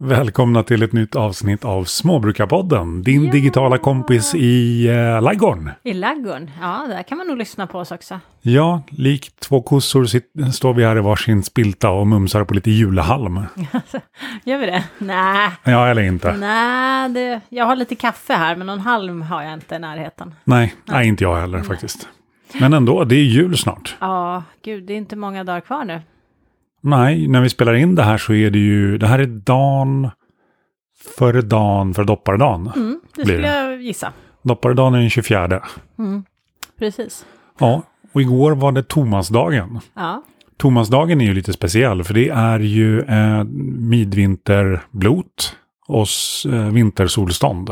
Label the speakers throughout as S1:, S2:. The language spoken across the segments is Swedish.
S1: Välkomna till ett nytt avsnitt av Småbrukarpodden. Din digitala kompis i eh, laggården.
S2: I laggorn? Ja, där kan man nog lyssna på oss också.
S1: Ja, likt två kossor sit- står vi här i varsin spilta och mumsar på lite julehalm.
S2: Gör vi det? Nej,
S1: Ja, eller inte.
S2: nej, det, jag har lite kaffe här men någon halm har jag inte i närheten.
S1: Nej, nej inte jag heller faktiskt. Men ändå, det är jul snart.
S2: Ja, gud, det är inte många dagar kvar nu.
S1: Nej, när vi spelar in det här så är det ju, det här är dagen före dagen för dopparedagen.
S2: Mm, det
S1: Blir
S2: skulle
S1: det.
S2: jag gissa.
S1: Dopparedagen är den 24.
S2: Precis.
S1: Ja, och igår var det Tomasdagen.
S2: Ja,
S1: Tomasdagen är ju lite speciell för det är ju eh, midvinterblot och s- eh, vintersolstånd.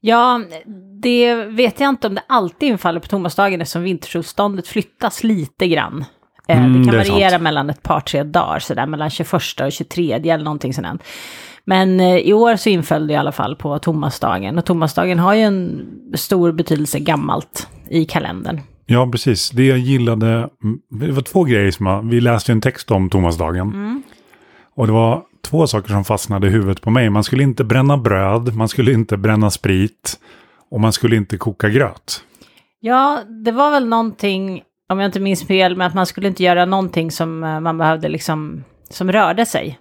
S2: ja det vet jag inte om det alltid infaller på tomasdagen eftersom vintersolståndet flyttas lite grann. Eh,
S1: Mm,
S2: det kan
S1: det är
S2: variera
S1: sant.
S2: mellan ett par, tre dagar, sådär mellan 21 och 23 eller någonting sådant. Men eh, i år så inföll det i alla fall på tomasdagen. Och tomasdagen har ju en stor betydelse gammalt i kalendern.
S1: Ja, precis. Det jag gillade, mm, det var två grejer som jag, vi läste ju en text om Tomasdagen. Och det var två saker som fastnade i huvudet på mig. Man skulle inte bränna bröd, man skulle inte bränna sprit och man skulle inte koka gröt.
S2: Ja, det var väl någonting, om jag inte minns fel, med att man skulle inte göra någonting som eh, man behövde liksom, som rörde sig.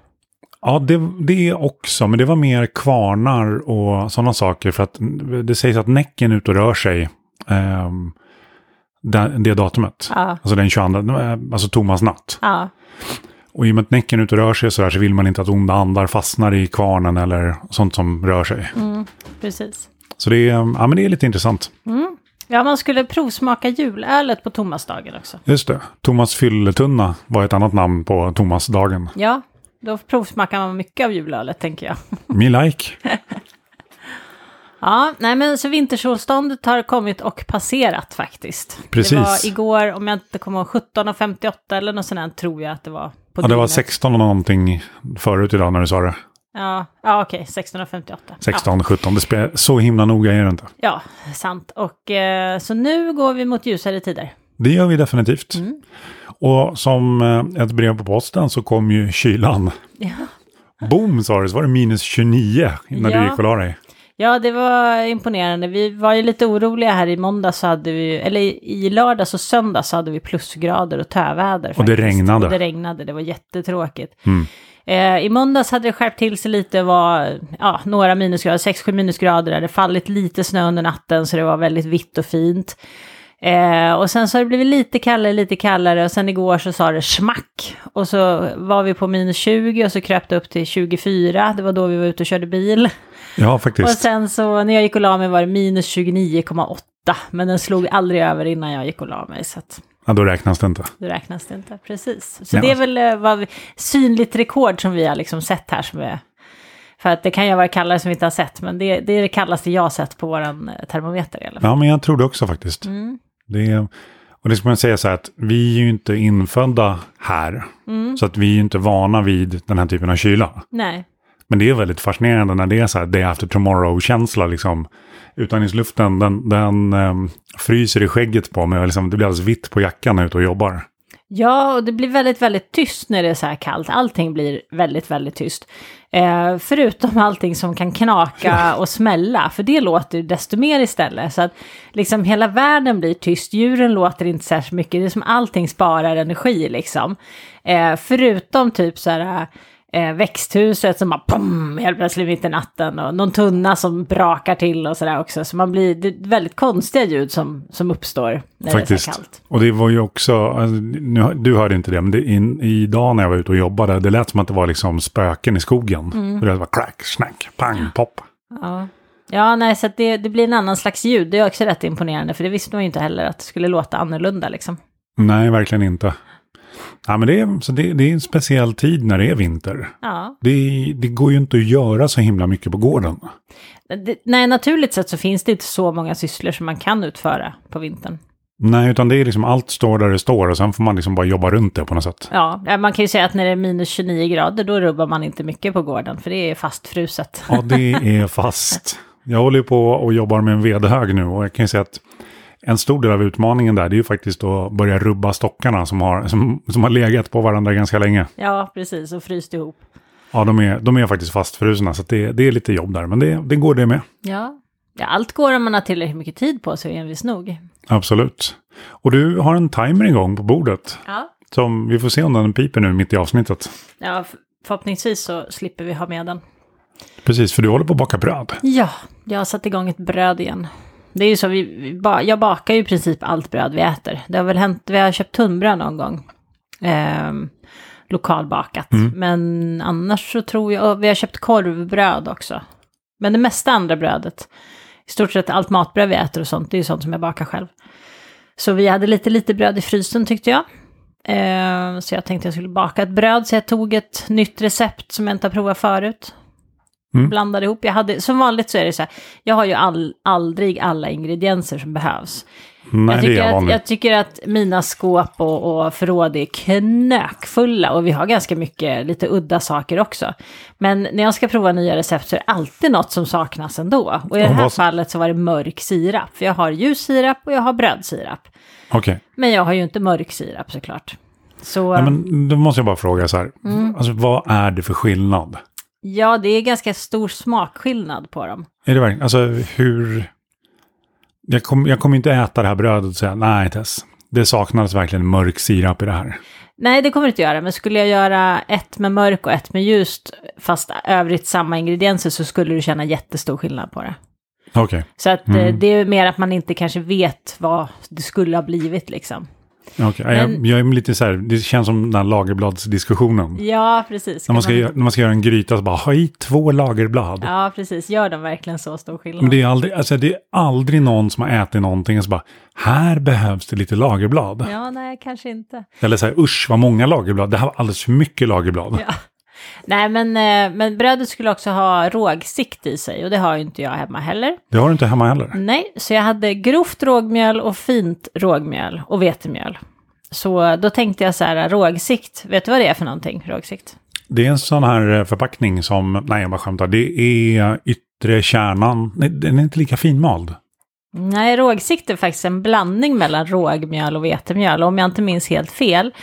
S1: Ja, det, det också, men det var mer kvarnar och sådana saker. För att det sägs att Näcken är ute och rör sig ehm, det, det datumet.
S2: Ja.
S1: Alltså den 22, eh, alltså Thomas natt.
S2: Ja,
S1: Och i och med att Näcken är ute och rör sig så, där, så vill man inte att onda andar fastnar i kvarnen eller sånt som rör sig.
S2: Mm. precis.
S1: Så det är, ja, men det är lite intressant.
S2: Ja, man skulle provsmaka julölet på tomasdagen också.
S1: Just det, Thomas Fylletunna var ett annat namn på Thomasdagen.
S2: Ja, då provsmakar man mycket av julölet, tänker jag.
S1: Me like.
S2: Ja, nej men så vintersolståndet har kommit och passerat faktiskt. Det
S1: Precis.
S2: var igår, om jag inte kommer ihåg, 17.58 eller något sånt här, tror jag att det var. På
S1: Ja, det var
S2: dygnet.
S1: 16 och någonting förut idag när du sa det.
S2: Ja, ja okej, 16.58.
S1: 16, 17, det spelar, så himla noga är det inte.
S2: Ja, ja, sant. Och eh, så nu går vi mot ljusare tider.
S1: Det gör vi definitivt.
S2: Mm.
S1: Och som eh, ett brev på posten så kom ju kylan.
S2: Ja.
S1: Boom sa det, så var det minus 29 när
S2: Ja.
S1: du gick och la dig.
S2: Ja, det var imponerande. Vi var ju lite oroliga här i måndag så hade vi, eller i- i lördags och söndag så hade vi plusgrader och töväder.
S1: Och det
S2: faktiskt.
S1: regnade. Mm.
S2: Och det regnade, det var jättetråkigt. Eh, I måndags hade det skärpt till sig lite, var ja, några minusgrader, 6-7 minusgrader, det hade fallit lite snö under natten så det var väldigt vitt och fint. Eh, och sen så har det blivit lite kallare, lite kallare och sen igår så sa det smack. Och så var vi på minus 20 och så kröp det upp till 24, det var då vi var ute och körde bil.
S1: Ja,
S2: Och
S1: faktiskt.
S2: sen så när jag gick och la mig var det minus 29,8. Men den slog aldrig över innan jag gick och la mig. Så att
S1: Ja, då räknas det inte.
S2: det räknas det inte. Precis. Så
S1: Nej,
S2: det är
S1: men-
S2: väl eh, vad vi, synligt rekord som vi har liksom sett här. Som är, för att det kan ju vara kallare som vi inte har sett. Men det, det är det kallaste jag har sett på våran eh, termometer i alla fall.
S1: Ja, men jag tror det också faktiskt.
S2: Mm.
S1: Det är, och det ska man säga så här att vi är ju inte infödda här.
S2: Mm.
S1: Så att vi är ju inte vana vid den här typen av kyla.
S2: Nej.
S1: Men det är väldigt fascinerande när det är så här day after tomorrow-känsla liksom. Utandningsluften, den, den ehm, fryser i skägget på mig. och Liksom, det blir alldeles vitt på jackan när jag är ute och jobbar.
S2: Ja, och det blir väldigt, väldigt tyst när det är så här kallt. Allting blir väldigt, väldigt tyst. Eh, förutom allting som kan knaka och smälla, för det låter ju desto mer istället. Så att liksom hela världen blir tyst, djuren låter inte särskilt mycket, det är som allting sparar energi liksom. Eh, förutom typ så här eh, växthuset som bara pum, helt plötsligt mitt i natten och någon tunna som brakar till och sådär också. Så man blir, det är väldigt konstiga ljud som, som uppstår när det är så här
S1: Faktiskt.
S2: kallt.
S1: Och det var ju också, alltså, nu, du hörde inte det, men det, in, idag när jag var ute och jobbade, det lät som att det var liksom spöken i skogen.
S2: Mm.
S1: Det lät bara crack, snack, pang, pop.
S2: Ja. Ja, nej, så att det, det blir en annan slags ljud. Det är också rätt imponerande, för det visste man ju inte heller att det skulle låta annorlunda liksom.
S1: Nej, verkligen inte. Ja, men det, är, så det, det är en speciell tid när det är vinter.
S2: Ja.
S1: Det, det går ju inte att göra så himla mycket på gården.
S2: Det, nej, naturligt sett så finns det inte så många sysslor som man kan utföra på vintern.
S1: Nej, utan det är liksom allt står där det står och sen får man liksom bara jobba runt det på något sätt.
S2: Ja, ja, man kan ju säga att när det är minus 29 grader, då rubbar man inte mycket på gården, för det är fastfruset.
S1: Ja, det är fast. Jag håller ju på och jobbar med en vedhög nu och jag kan ju säga att en stor del av utmaningen där det är ju faktiskt att börja rubba stockarna som har, som, som har legat på varandra ganska länge.
S2: Ja, precis, och fryst ihop.
S1: Ja, de är, de är faktiskt fastfrusna så att det, det är lite jobb där. Men det, det går det med.
S2: Ja. ja, allt går om man har tillräckligt mycket tid på sig och är envis nog.
S1: Absolut. Och du har en timer igång på bordet.
S2: Ja.
S1: Som vi får se om den piper nu mitt i avsnittet.
S2: Ja, f- förhoppningsvis så slipper vi ha med den.
S1: Precis, för du håller på att baka bröd.
S2: Ja, jag har satt igång ett bröd igen. Det är ju så, vi, vi ba, jag bakar ju i princip allt bröd vi äter. Det har väl hänt, vi har köpt tunnbröd någon gång. Ehm, lokalbakat. Men annars så tror jag, och vi har köpt korvbröd också. Men det mesta andra brödet, i stort sett allt matbröd vi äter och sånt, det är ju sånt som jag bakar själv. Så vi hade lite lite bröd i frysen tyckte jag. Ehm, så jag tänkte jag skulle baka ett bröd, så jag tog ett nytt recept som jag inte har provat förut blandade ihop. Jag hade, som vanligt så är det så här, jag har ju all, aldrig alla ingredienser som behövs.
S1: Nej, det
S2: jag, tycker
S1: är
S2: att,
S1: vanligt.
S2: jag tycker att mina skåp och, och förråd är knökfulla och vi har ganska mycket lite udda saker också. Men när jag ska prova nya recept så är det alltid något som saknas ändå. Och i det
S1: Och
S2: här
S1: vad-
S2: fallet så var det mörk sirap, för jag har ljus sirap och jag har brödsirap.
S1: Okej.
S2: Men jag har ju inte mörk sirap såklart. Så
S1: Nej, men då måste jag bara fråga så här. Alltså, vad är det för skillnad?
S2: ja, det är ganska stor smakskillnad på dem.
S1: Är det verkligen, alltså hur... Jag kommer jag kommer inte äta det här brödet och säga nej Tess. Det saknades verkligen mörk sirap i det här.
S2: Nej, det kommer jag inte göra. Men skulle jag göra ett med mörk och ett med ljust, fast övrigt samma ingredienser, så skulle du känna jättestor skillnad på det.
S1: Okej.
S2: Så att eh,
S1: Mm.
S2: det är mer att man inte kanske vet vad det skulle ha blivit liksom.
S1: okej. Jag-
S2: Men-
S1: Jag är lite så här, det känns som den här lagerbladsdiskussionen.
S2: Ja, precis.
S1: När man, ska, göra- när man ska göra en gryta så bara, ha i två lagerblad.
S2: Ja, precis. Gör de verkligen så stor skillnad?
S1: Men det är, aldrig, alltså det är aldrig någon som har ätit någonting och så bara, här behövs det lite lagerblad.
S2: Ja, nej, kanske inte.
S1: Eller så här, usch vad många lagerblad, det här var alldeles för mycket lagerblad.
S2: Ja. Nej, men, eh, men brödet skulle också ha rågsikt i sig och det har ju inte jag hemma heller.
S1: Det har du inte hemma heller.
S2: Nej, så jag hade grovt rågmjöl och fint rågmjöl och vetemjöl. Så då tänkte jag så här, rågsikt, vet du vad det är för någonting? Rågsikt?
S1: Det är en sån här eh, förpackning som, nej jag bara skämtar, det är yttre kärnan, nej den är inte lika finmald.
S2: Nej, rågsikt är faktiskt en blandning mellan rågmjöl och vetemjöl. Och om jag inte minns helt fel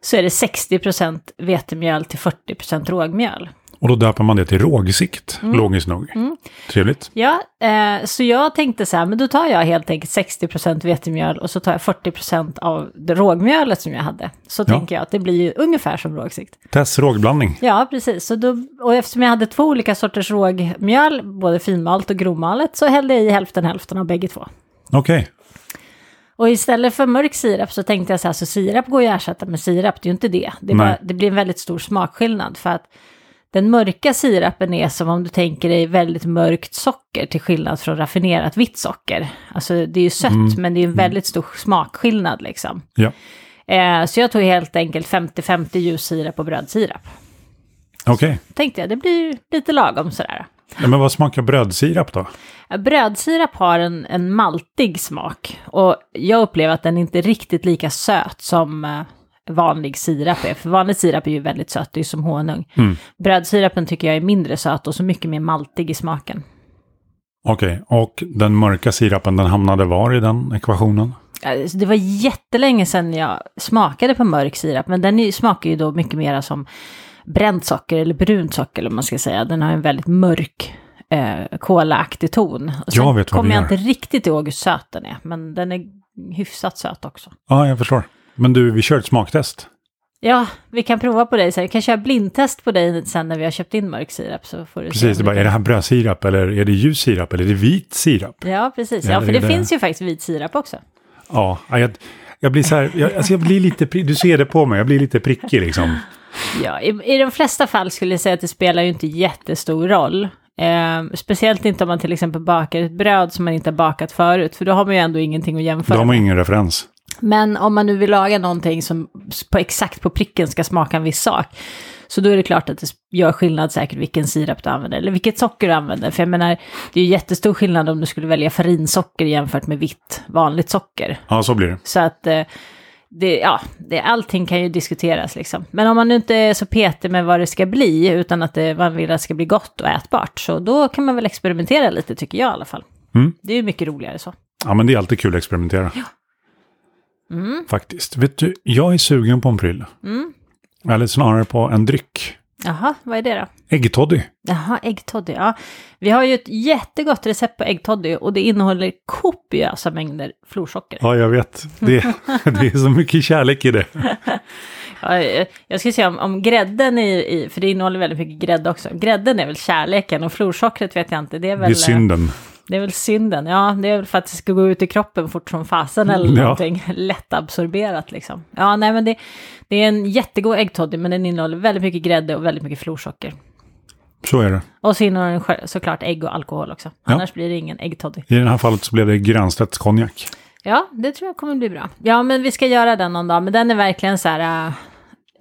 S2: så är det 60% vetemjöl till 40% rågmjöl.
S1: Och då döper man det till rågsikt, logiskt nog. Trevligt.
S2: Ja, eh, så jag tänkte så här, men då tar jag helt enkelt 60% vetemjöl och så tar jag 40% av det rågmjölet som jag hade. Så
S1: Ja.
S2: tänker jag att det blir ju ungefär som rågsikt.
S1: Tess rågblandning.
S2: Ja, precis. Så då, och eftersom jag hade två olika sorters rågmjöl, både finmalt och grovmalet, så hällde jag i hälften hälften av bägge två.
S1: Okej.
S2: Och istället för mörk sirap så tänkte jag så här, så sirap går ju att ersätta med sirap, det är ju inte det. Det, är
S1: Nej.
S2: bara, det blir en väldigt stor smakskillnad för att den mörka sirapen är som om du tänker dig väldigt mörkt socker till skillnad från raffinerat vitt socker. Alltså det är ju sött men det är en väldigt stor smakskillnad liksom.
S1: Ja.
S2: Eh, så jag tog helt enkelt 50-50 ljus sirap och brödsirap.
S1: Okej.
S2: Tänkte jag, det blir lite lagom sådär.
S1: Ja, men vad smakar brödsirap då?
S2: Brödsirap har en, en maltig smak och jag upplever att den inte är riktigt lika söt som eh, vanlig sirap är. För vanlig sirap är ju väldigt söt, det är ju som honung. Brödsirapen tycker jag är mindre söt och så mycket mer maltig i smaken.
S1: Okej, och den mörka sirapen, den hamnade var i den ekvationen?
S2: Alltså, Det var jättelänge sedan jag smakade på mörk sirap, men den är- smakar ju då mycket mer som bränt socker eller brunt socker, eller vad man ska säga. Den har en väldigt mörk eh, kolaaktig ton. Och
S1: Jag vet vad
S2: kommer
S1: vi
S2: jag
S1: gör.
S2: inte riktigt ihåg hur söt den är, men den är hyfsat söt också.
S1: Ja, jag förstår. Men du, vi kör ett smaktest.
S2: Ja, vi kan prova på dig sen. Vi kan köra blindtest på dig sen när vi har köpt in mörk sirap. Så får du se om
S1: Precis, det
S2: du
S1: är bara,
S2: kan-
S1: är det här brödsirap eller är det ljus sirap eller är det vit sirap?
S2: Ja, precis. Ja,
S1: Eller
S2: för
S1: är
S2: det,
S1: det-
S2: finns ju faktiskt vit sirap också.
S1: Ja, ja, jag, jag blir så här, jag, alltså jag blir lite, pri- du ser det på mig, jag blir lite prickig liksom.
S2: Ja, i, i de flesta fall skulle jag säga att det spelar ju inte jättestor roll. Eh, speciellt inte om man till exempel bakar ett bröd som man inte har bakat förut, för då har man ju ändå ingenting att
S1: Då
S2: jämföra
S1: har
S2: med.
S1: man ingen referens.
S2: Men om man nu vill laga någonting som s- på exakt på pricken ska smaka en viss sak, så då är det klart att det s- gör skillnad säkert vilken sirap du använder, eller vilket socker du använder. För jag menar, det är ju jättestor skillnad om du skulle välja farinsocker jämfört med vitt vanligt socker.
S1: Ja, så blir det.
S2: Så att eh, det, ja, det, allting kan ju diskuteras liksom. Men om man nu inte är så petig med vad det ska bli, utan att det, man vill att det ska bli gott och ätbart, så då kan man väl experimentera lite tycker jag i alla fall.
S1: Mm.
S2: Det är ju mycket roligare så.
S1: Ja, men det är alltid kul att experimentera. Mm. Faktiskt. Vet du, jag är sugen på en pryl. Eller snarare på en dryck.
S2: Jaha, vad är det då?
S1: Äggtoddy.
S2: Jaha, äggtoddy. Ja. Vi har ju ett jättegott recept på äggtoddy och det innehåller kopiösa mängder florsocker.
S1: Ja, jag vet. Det, det är så mycket kärlek i det.
S2: Ja, eh, jag ska se om, om grädden i, i, för det innehåller väldigt mycket grädde också. Grädden är väl kärleken och florsockret vet jag inte. Det är
S1: Det
S2: väl,
S1: är synden.
S2: det är väl synden. Ja, det är väl för att det ska gå ut i kroppen fort som fasen eller
S1: Mm, Ja.
S2: någonting. Lättabsorberat liksom. Ja, nej men det, det är en jättegod äggtoddy men den innehåller väldigt mycket grädde och väldigt mycket florsocker.
S1: Så är det.
S2: Och så innehåller den själv- såklart ägg och alkohol också.
S1: Ja.
S2: Annars blir det ingen äggtoddy.
S1: I det här fallet så blev det Grönstedts konjak.
S2: Ja, det tror jag kommer bli bra. Ja, men vi ska göra den någon dag. Men den är verkligen så här... äh,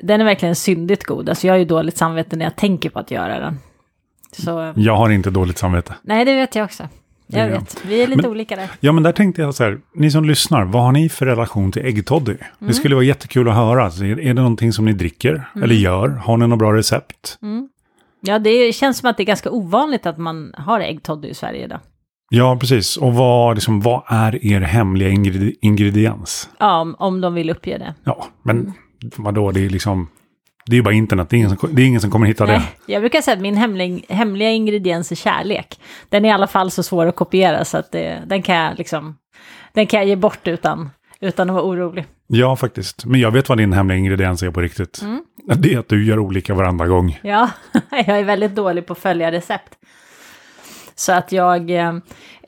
S2: den är verkligen syndigt god. Alltså jag har ju dåligt samvete när jag tänker på att göra den. Så,
S1: Jag har inte dåligt samvete.
S2: nej det vet jag också. Jag
S1: Mm. Ja.
S2: vet, vi är lite
S1: Men-
S2: olika där.
S1: Ja, men där tänkte jag så här, ni som lyssnar, vad har ni för relation till äggtoddy? Det skulle vara jättekul att höra. Alltså, är är det någonting som ni dricker eller gör? Har ni något bra recept?
S2: Ja, det är- känns som att det är ganska ovanligt att man har äggtoddy i Sverige idag.
S1: Ja, precis. Och vad, liksom, vad är er hemliga ingredi- ingrediens?
S2: Ja, om, om de vill uppge det.
S1: Ja, men
S2: Mm.
S1: vadå, det är liksom... Det är ju bara internet, det är ingen som, det är ingen som kommer hitta det.
S2: Nej, jag brukar säga att min hemlig, hemliga ingrediens är kärlek. Den är i alla fall så svår att kopiera så att det, den, kan jag liksom, den kan jag ge bort utan, utan att vara orolig.
S1: Ja, faktiskt. Men jag vet vad din hemliga ingrediens är på riktigt.
S2: Mm.
S1: Det är att du gör olika varenda gång.
S2: Ja, jag är väldigt dålig på att följa recept. Så att jag, eh,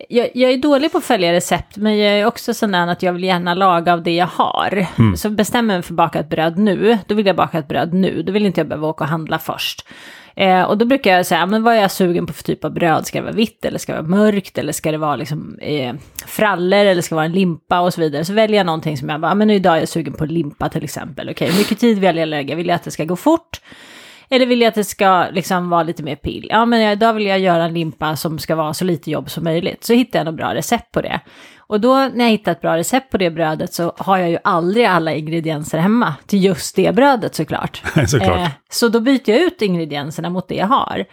S2: jag, jag är dålig på att följa recept, men jag är också sån där att jag vill gärna laga av det jag har. Så bestämmer jag mig för att baka ett bröd nu, då vill jag baka ett bröd nu, då vill inte jag behöva åka och handla först. Eh, och då brukar jag säga, men vad är jag sugen på för typ av bröd? Ska det vara vitt eller ska det vara mörkt eller ska det vara liksom, eh, frallor eller ska det vara en limpa och så vidare. Så väljer jag någonting som jag bara, "Ah, men idag är jag sugen på limpa till exempel. Okej, hur mycket tid vill jag lägga? Vill jag att det ska gå fort? Eller vill jag att det ska liksom vara lite mer pill? Ja, men jag- idag vill jag göra en limpa som ska vara så lite jobb som möjligt. Så hittar jag något bra recept på det. Och då när jag hittar ett bra recept på det brödet så har jag ju aldrig alla ingredienser hemma till just det brödet såklart.
S1: Såklart.
S2: Eh, så då byter jag ut ingredienserna mot det jag har.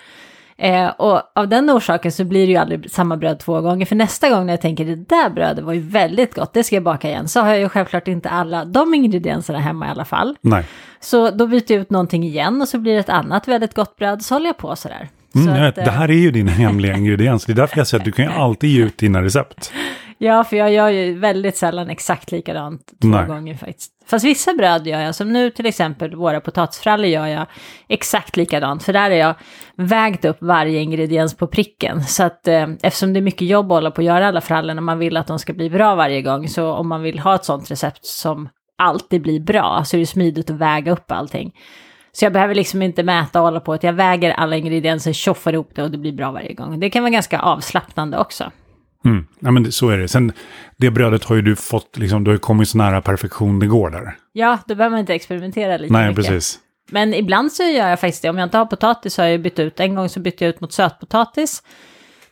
S2: Eh, och av den orsaken så blir det ju aldrig samma bröd två gånger. För nästa gång när jag tänker det där brödet var ju väldigt gott, det ska jag baka igen. Så har jag ju självklart inte alla de ingredienserna hemma i alla fall.
S1: Nej.
S2: Så då byter jag ut någonting igen och så blir det ett annat väldigt gott bröd. Så håller jag på sådär.
S1: Mm,
S2: så
S1: jag vet,
S2: att, eh,
S1: det här är ju din hemliga ingrediens. Det är därför jag säger att du kan ju alltid ge ut dina recept.
S2: Ja, för jag gör ju väldigt sällan exakt likadant två
S1: Nej.
S2: gånger faktiskt. Fast vissa bröd gör jag, som nu till exempel våra potatisfrallor gör jag exakt likadant. För där har jag vägt upp varje ingrediens på pricken. Så att eh, eftersom det är mycket jobb att hålla på att göra alla frallorna, man vill att de ska bli bra varje gång. Så om man vill ha ett sånt recept som alltid blir bra, så är det smidigt att väga upp allting. Så jag behöver liksom inte mäta och hålla på att jag väger alla ingredienser, tjoffar ihop det och det blir bra varje gång. Det kan vara ganska avslappnande också.
S1: Mm. Ja, men det, så är det. Sen, det brödet har ju du fått, liksom, du har ju kommit så nära perfektion det går där.
S2: Ja, då behöver man inte experimentera lika
S1: Nej,
S2: mycket.
S1: precis.
S2: Men ibland så gör jag faktiskt det. Om jag inte har potatis så har jag ju bytt ut. En gång så bytte jag ut mot sötpotatis.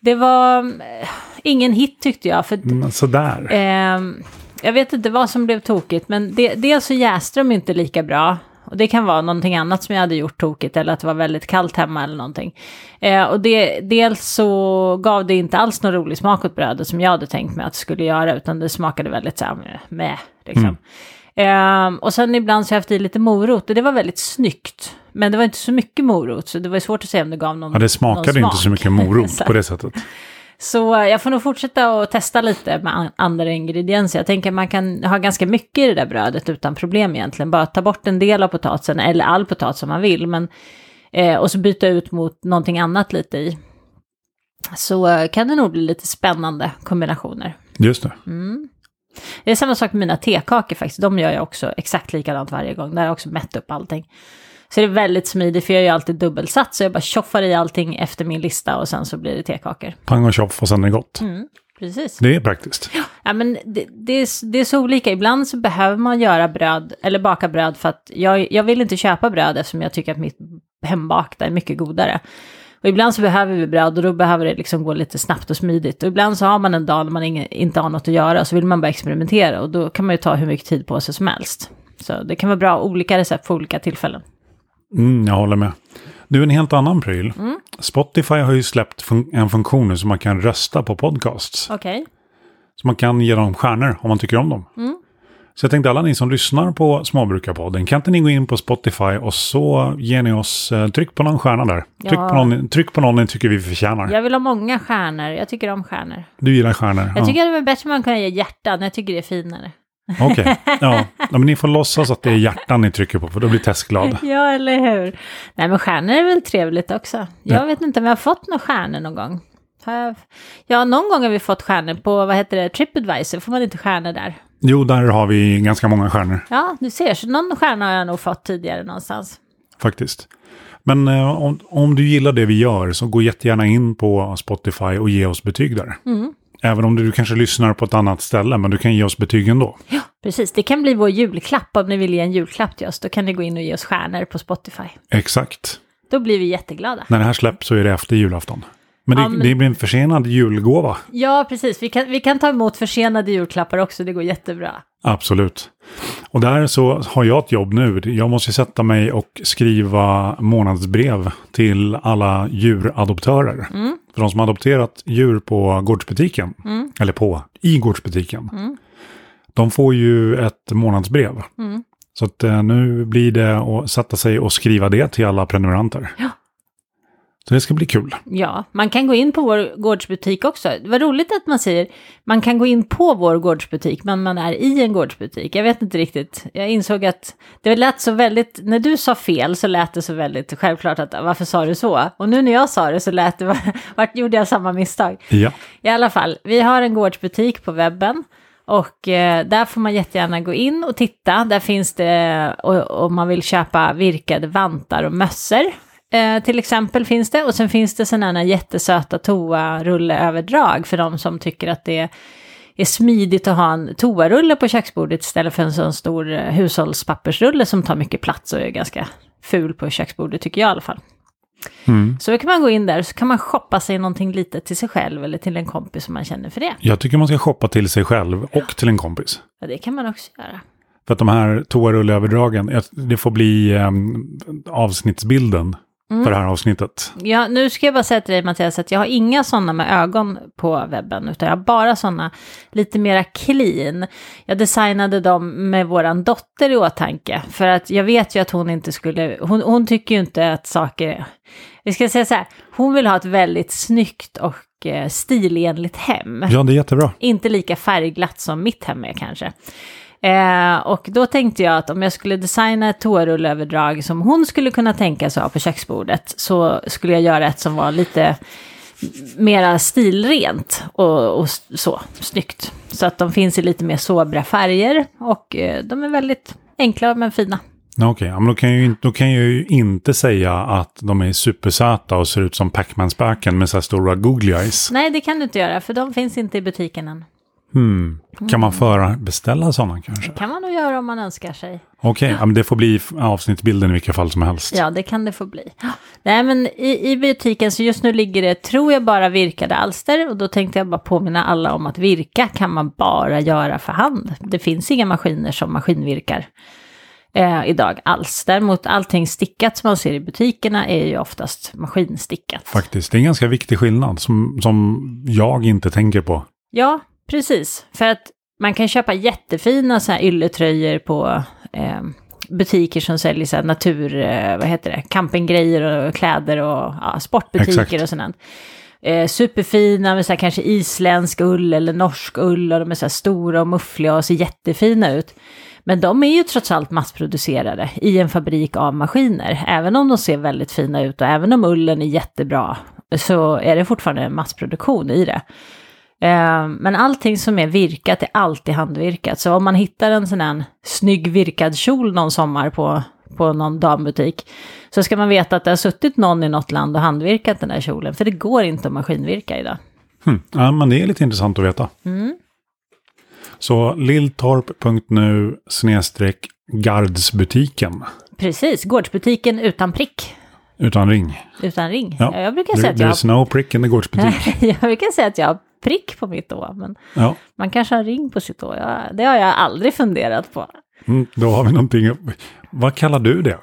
S2: Det var eh, ingen hit tyckte jag. För,
S1: Mm, sådär.
S2: ehm, jag vet inte vad som blev tokigt, men det, dels så jäste de inte lika bra. Och det kan vara någonting annat som jag hade gjort tokigt eller att det var väldigt kallt hemma eller någonting. Eh, och det, dels så gav det inte alls någon rolig smak åt brödet som jag hade tänkt mig att det skulle göra, utan det smakade väldigt så här med, liksom.
S1: Mm.
S2: Ehm, och sen ibland så har jag haft i lite morot och det var väldigt snyggt. Men det var inte så mycket morot så det var ju svårt att säga om det gav någon
S1: Ja, det
S2: någon
S1: smakade ju
S2: smak.
S1: inte så mycket morot
S2: Exakt.
S1: på det sättet.
S2: Så eh, jag får nog fortsätta att testa lite med an- andra ingredienser. Jag tänker att man kan ha ganska mycket i det där brödet utan problem egentligen. Bara ta bort en del av potatisen eller all potatis som man vill. Men, eh, och så byta ut mot någonting annat lite i. Så eh, kan det nog bli lite spännande kombinationer.
S1: Just det.
S2: Mm. Det är samma sak med mina tekakor faktiskt. De gör jag också exakt likadant varje gång. Där har jag också mätt upp allting. Så det är väldigt smidigt för jag är ju alltid dubbelsatt. Så jag bara tjoffar i allting efter min lista och sen så blir det tekakor.
S1: Pang och tjoff och sen är det gott.
S2: Precis.
S1: Det är praktiskt.
S2: Mm. Ja, men det, det, är, s- det är så olika. Ibland så behöver man göra bröd, eller baka bröd för att jag, jag vill inte köpa bröd eftersom jag tycker att mitt hembakta är mycket godare. Och ibland så behöver vi bröd och då behöver det liksom gå lite snabbt och smidigt. Och ibland så har man en dag när man inge, inte har något att göra och så vill man bara experimentera och då kan man ju ta hur mycket tid på sig som helst. Så det kan vara bra olika recept för olika tillfällen.
S1: Mm, jag håller med. Du, en helt annan pryl.
S2: Mm.
S1: Spotify har ju släppt fun- en funktion nu som man kan rösta på podcasts.
S2: Okej. Mm.
S1: Så man kan ge dem stjärnor om man tycker om dem. Så jag tänkte alla ni som lyssnar på Småbrukarpodden, kan inte ni gå in på Spotify och så ger ni oss, eh, tryck på någon stjärna där. Tryck,
S2: Ja.
S1: på någon, tryck på någon ni tycker vi förtjänar.
S2: Jag vill ha många stjärnor. Jag tycker om stjärnor.
S1: Du gillar stjärnor?
S2: Jag
S1: ja.
S2: tycker det var bättre om man kunde ge hjärtan. Jag tycker det är finare.
S1: Okej, ja. ja. Men ni får låtsas att det är hjärtan ni trycker på, för då blir Tess glad.
S2: Ja, eller hur? Nej, men stjärnor är väl trevligt också. Jag vet inte om jag har fått några stjärnor någon gång. Har jag- Ja, någon gång har vi fått stjärnor på, vad heter det, Tripadvisor. Får man inte stjärnor där?
S1: Jo, där har vi ganska många stjärnor
S2: Ja, du ser, så någon stjärna har jag nog fått tidigare någonstans.
S1: faktiskt. Men eh, om, om du gillar det vi gör så gå jättegärna in på Spotify och ge oss betyg där. Även om du kanske lyssnar på ett annat ställe, men du kan ge oss betyg ändå.
S2: Ja, precis. Det kan bli vår julklapp om ni vill ge en julklapp till oss. Då kan ni gå in och ge oss stjärnor på Spotify.
S1: Exakt.
S2: Då blir vi jätteglada.
S1: När det här släpps så är det efter julafton. Men det,
S2: Ja, men-
S1: det blir en försenad julgåva.
S2: Ja, precis. Vi kan, vi kan ta emot försenade julklappar också. Det går jättebra.
S1: Absolut. Och där så har jag ett jobb nu. Jag måste sätta mig och skriva månadsbrev till alla djuradoptörer. För de som har adopterat djur på gårdsbutiken. Eller på, i gårdsbutiken. De får ju ett månadsbrev. Så att, eh, nu blir det att sätta sig och skriva det till alla prenumeranter.
S2: Ja.
S1: Så det ska bli kul.
S2: Ja, man kan gå in på vår gårdsbutik också. Det var roligt att man säger man kan gå in på vår gårdsbutik, men man är i en gårdsbutik. Jag vet inte riktigt. Jag insåg att det lät så väldigt, när du sa fel så lät det så väldigt självklart att varför sa du så? Och nu när jag sa det så lät det, vart gjorde jag samma misstag?
S1: Ja,
S2: I alla fall, vi har en gårdsbutik på webben. Och eh, där får man jättegärna gå in och titta. Där finns det, och- om man vill köpa virkade vantar och mössor. Eh, till exempel finns det. Och sen finns det sådana här jättesöta toarulleöverdrag för de som tycker att det är smidigt att ha en toarulle på köksbordet istället för en sån stor eh, hushållspappersrulle som tar mycket plats och är ganska ful på köksbordet tycker jag i alla fall. Så då kan man gå in där och så kan man shoppa sig någonting litet till sig själv eller till en kompis som man känner för det.
S1: jag tycker man ska shoppa till sig själv och till en kompis.
S2: Ja, det kan man också göra.
S1: För att de här toarulleöverdragen, jag- det får bli ehm, avsnittsbilden för det här avsnittet.
S2: Ja, nu ska jag bara säga till dig Mattias att jag har inga sådana med ögon på webben, utan jag har bara sådana lite mera clean. Jag designade dem med våran dotter i åtanke, för att jag vet ju att hon inte skulle, hon, hon tycker ju inte att saker, vi ska säga så här, hon vill ha ett väldigt snyggt och eh, stilenligt hem.
S1: Ja, det är jättebra.
S2: Inte lika färgglatt som mitt hem är kanske. Eh, och då tänkte jag att om jag skulle designa ett toarullöverdrag som hon skulle kunna tänka sig ha på köksbordet så skulle jag göra ett som var lite mera stilrent och, och s- så, snyggt. Så att de finns i lite mer sobra färger och eh, de är väldigt enkla men fina.
S1: Ja, Okej, ja, men då kan, jag ju inte, då kan jag ju inte säga att de är supersöta och ser ut som Pac-Man-spöken med så här stora googly eyes.
S2: Nej, det kan du inte göra för de finns inte i butiken än.
S1: Hmm. Kan man föra, beställa sådana kanske?
S2: kan man nog göra om man önskar sig.
S1: Okej, ja, men det får bli f- avsnittsbilden i vilka fall som helst.
S2: Ja, det kan det få bli. Nej, men i, i butiken så just nu ligger det, tror jag, bara virkade alster. Och då tänkte jag bara påminna alla om att virka kan man bara göra för hand. Det finns inga maskiner som maskinvirkar eh, idag alls. Däremot allting stickat som man ser i butikerna är ju oftast maskinstickat.
S1: Faktiskt, det är en ganska viktig skillnad som, som jag inte tänker på.
S2: Ja, precis. För att man kan köpa jättefina så här ylletröjor på eh, butiker som säljer så här natur, eh, vad heter det, campinggrejer och kläder och ja, sportbutiker
S1: Exakt.
S2: och sådant. Eh, superfina med så här kanske isländsk ull eller norsk ull och de är så här stora och muffliga och ser jättefina ut. Men de är ju trots allt massproducerade i en fabrik av maskiner. Även om de ser väldigt fina ut och även om ullen är jättebra så är det fortfarande en massproduktion i det. Eh, Men allting som är virkat är alltid handvirkat. Så om man hittar en sån här snygg virkad kjol någon sommar på, på någon dambutik. Så ska man veta att det har suttit någon i något land och handvirkat den där kjolen. För det går inte att maskinvirka idag.
S1: Hmm. Ja, men det är lite intressant att veta.
S2: Mm.
S1: Så lilltorp.nu snedstreck gardsbutiken
S2: Precis, gårdsbutiken utan prick.
S1: utan ring.
S2: Utan ring.
S1: Ja,
S2: Ja, jag brukar säga
S1: There,
S2: att jag,
S1: there's no prick in the gårdsbutik.
S2: jag brukar säga att jag har prick på mitt å. Men
S1: ja,
S2: man kanske har ring på sitt å. Jag- Det har jag aldrig funderat på.
S1: mm, då har vi någonting. Vad kallar du det?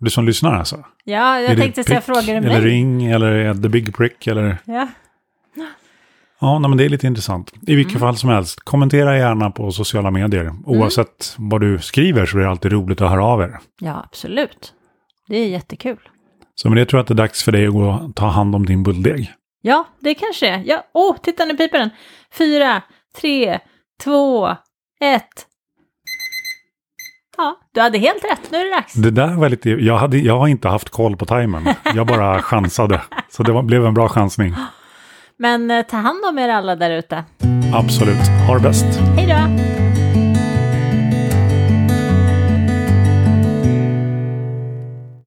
S1: Du som lyssnar alltså?
S2: Ja, jag
S1: Är det
S2: tänkte så jag
S1: prick
S2: frågade
S1: Eller
S2: mig.
S1: ring eller är det the big prick eller?
S2: Ja.
S1: Ja, nej, men det är lite intressant. I vilket
S2: Mm.
S1: fall som helst, kommentera gärna på sociala medier. Oavsett vad du skriver så är det alltid roligt att höra av er.
S2: Ja, absolut. Det är jättekul.
S1: Så med det tror jag att det är dags för dig att gå och ta hand om din bulldeg.
S2: Ja, det kanske är. Ja, åh, oh, titta nu piper den. Fyra, tre, två, ett. Ja, du hade helt rätt. Nu är det dags.
S1: Det där var lite, jag, hade, jag har inte haft koll på timern. Jag bara chansade. Så det var, blev en bra chansning.
S2: Men eh, ta hand om er alla där ute.
S1: Absolut. Ha det bäst.
S2: Hej då!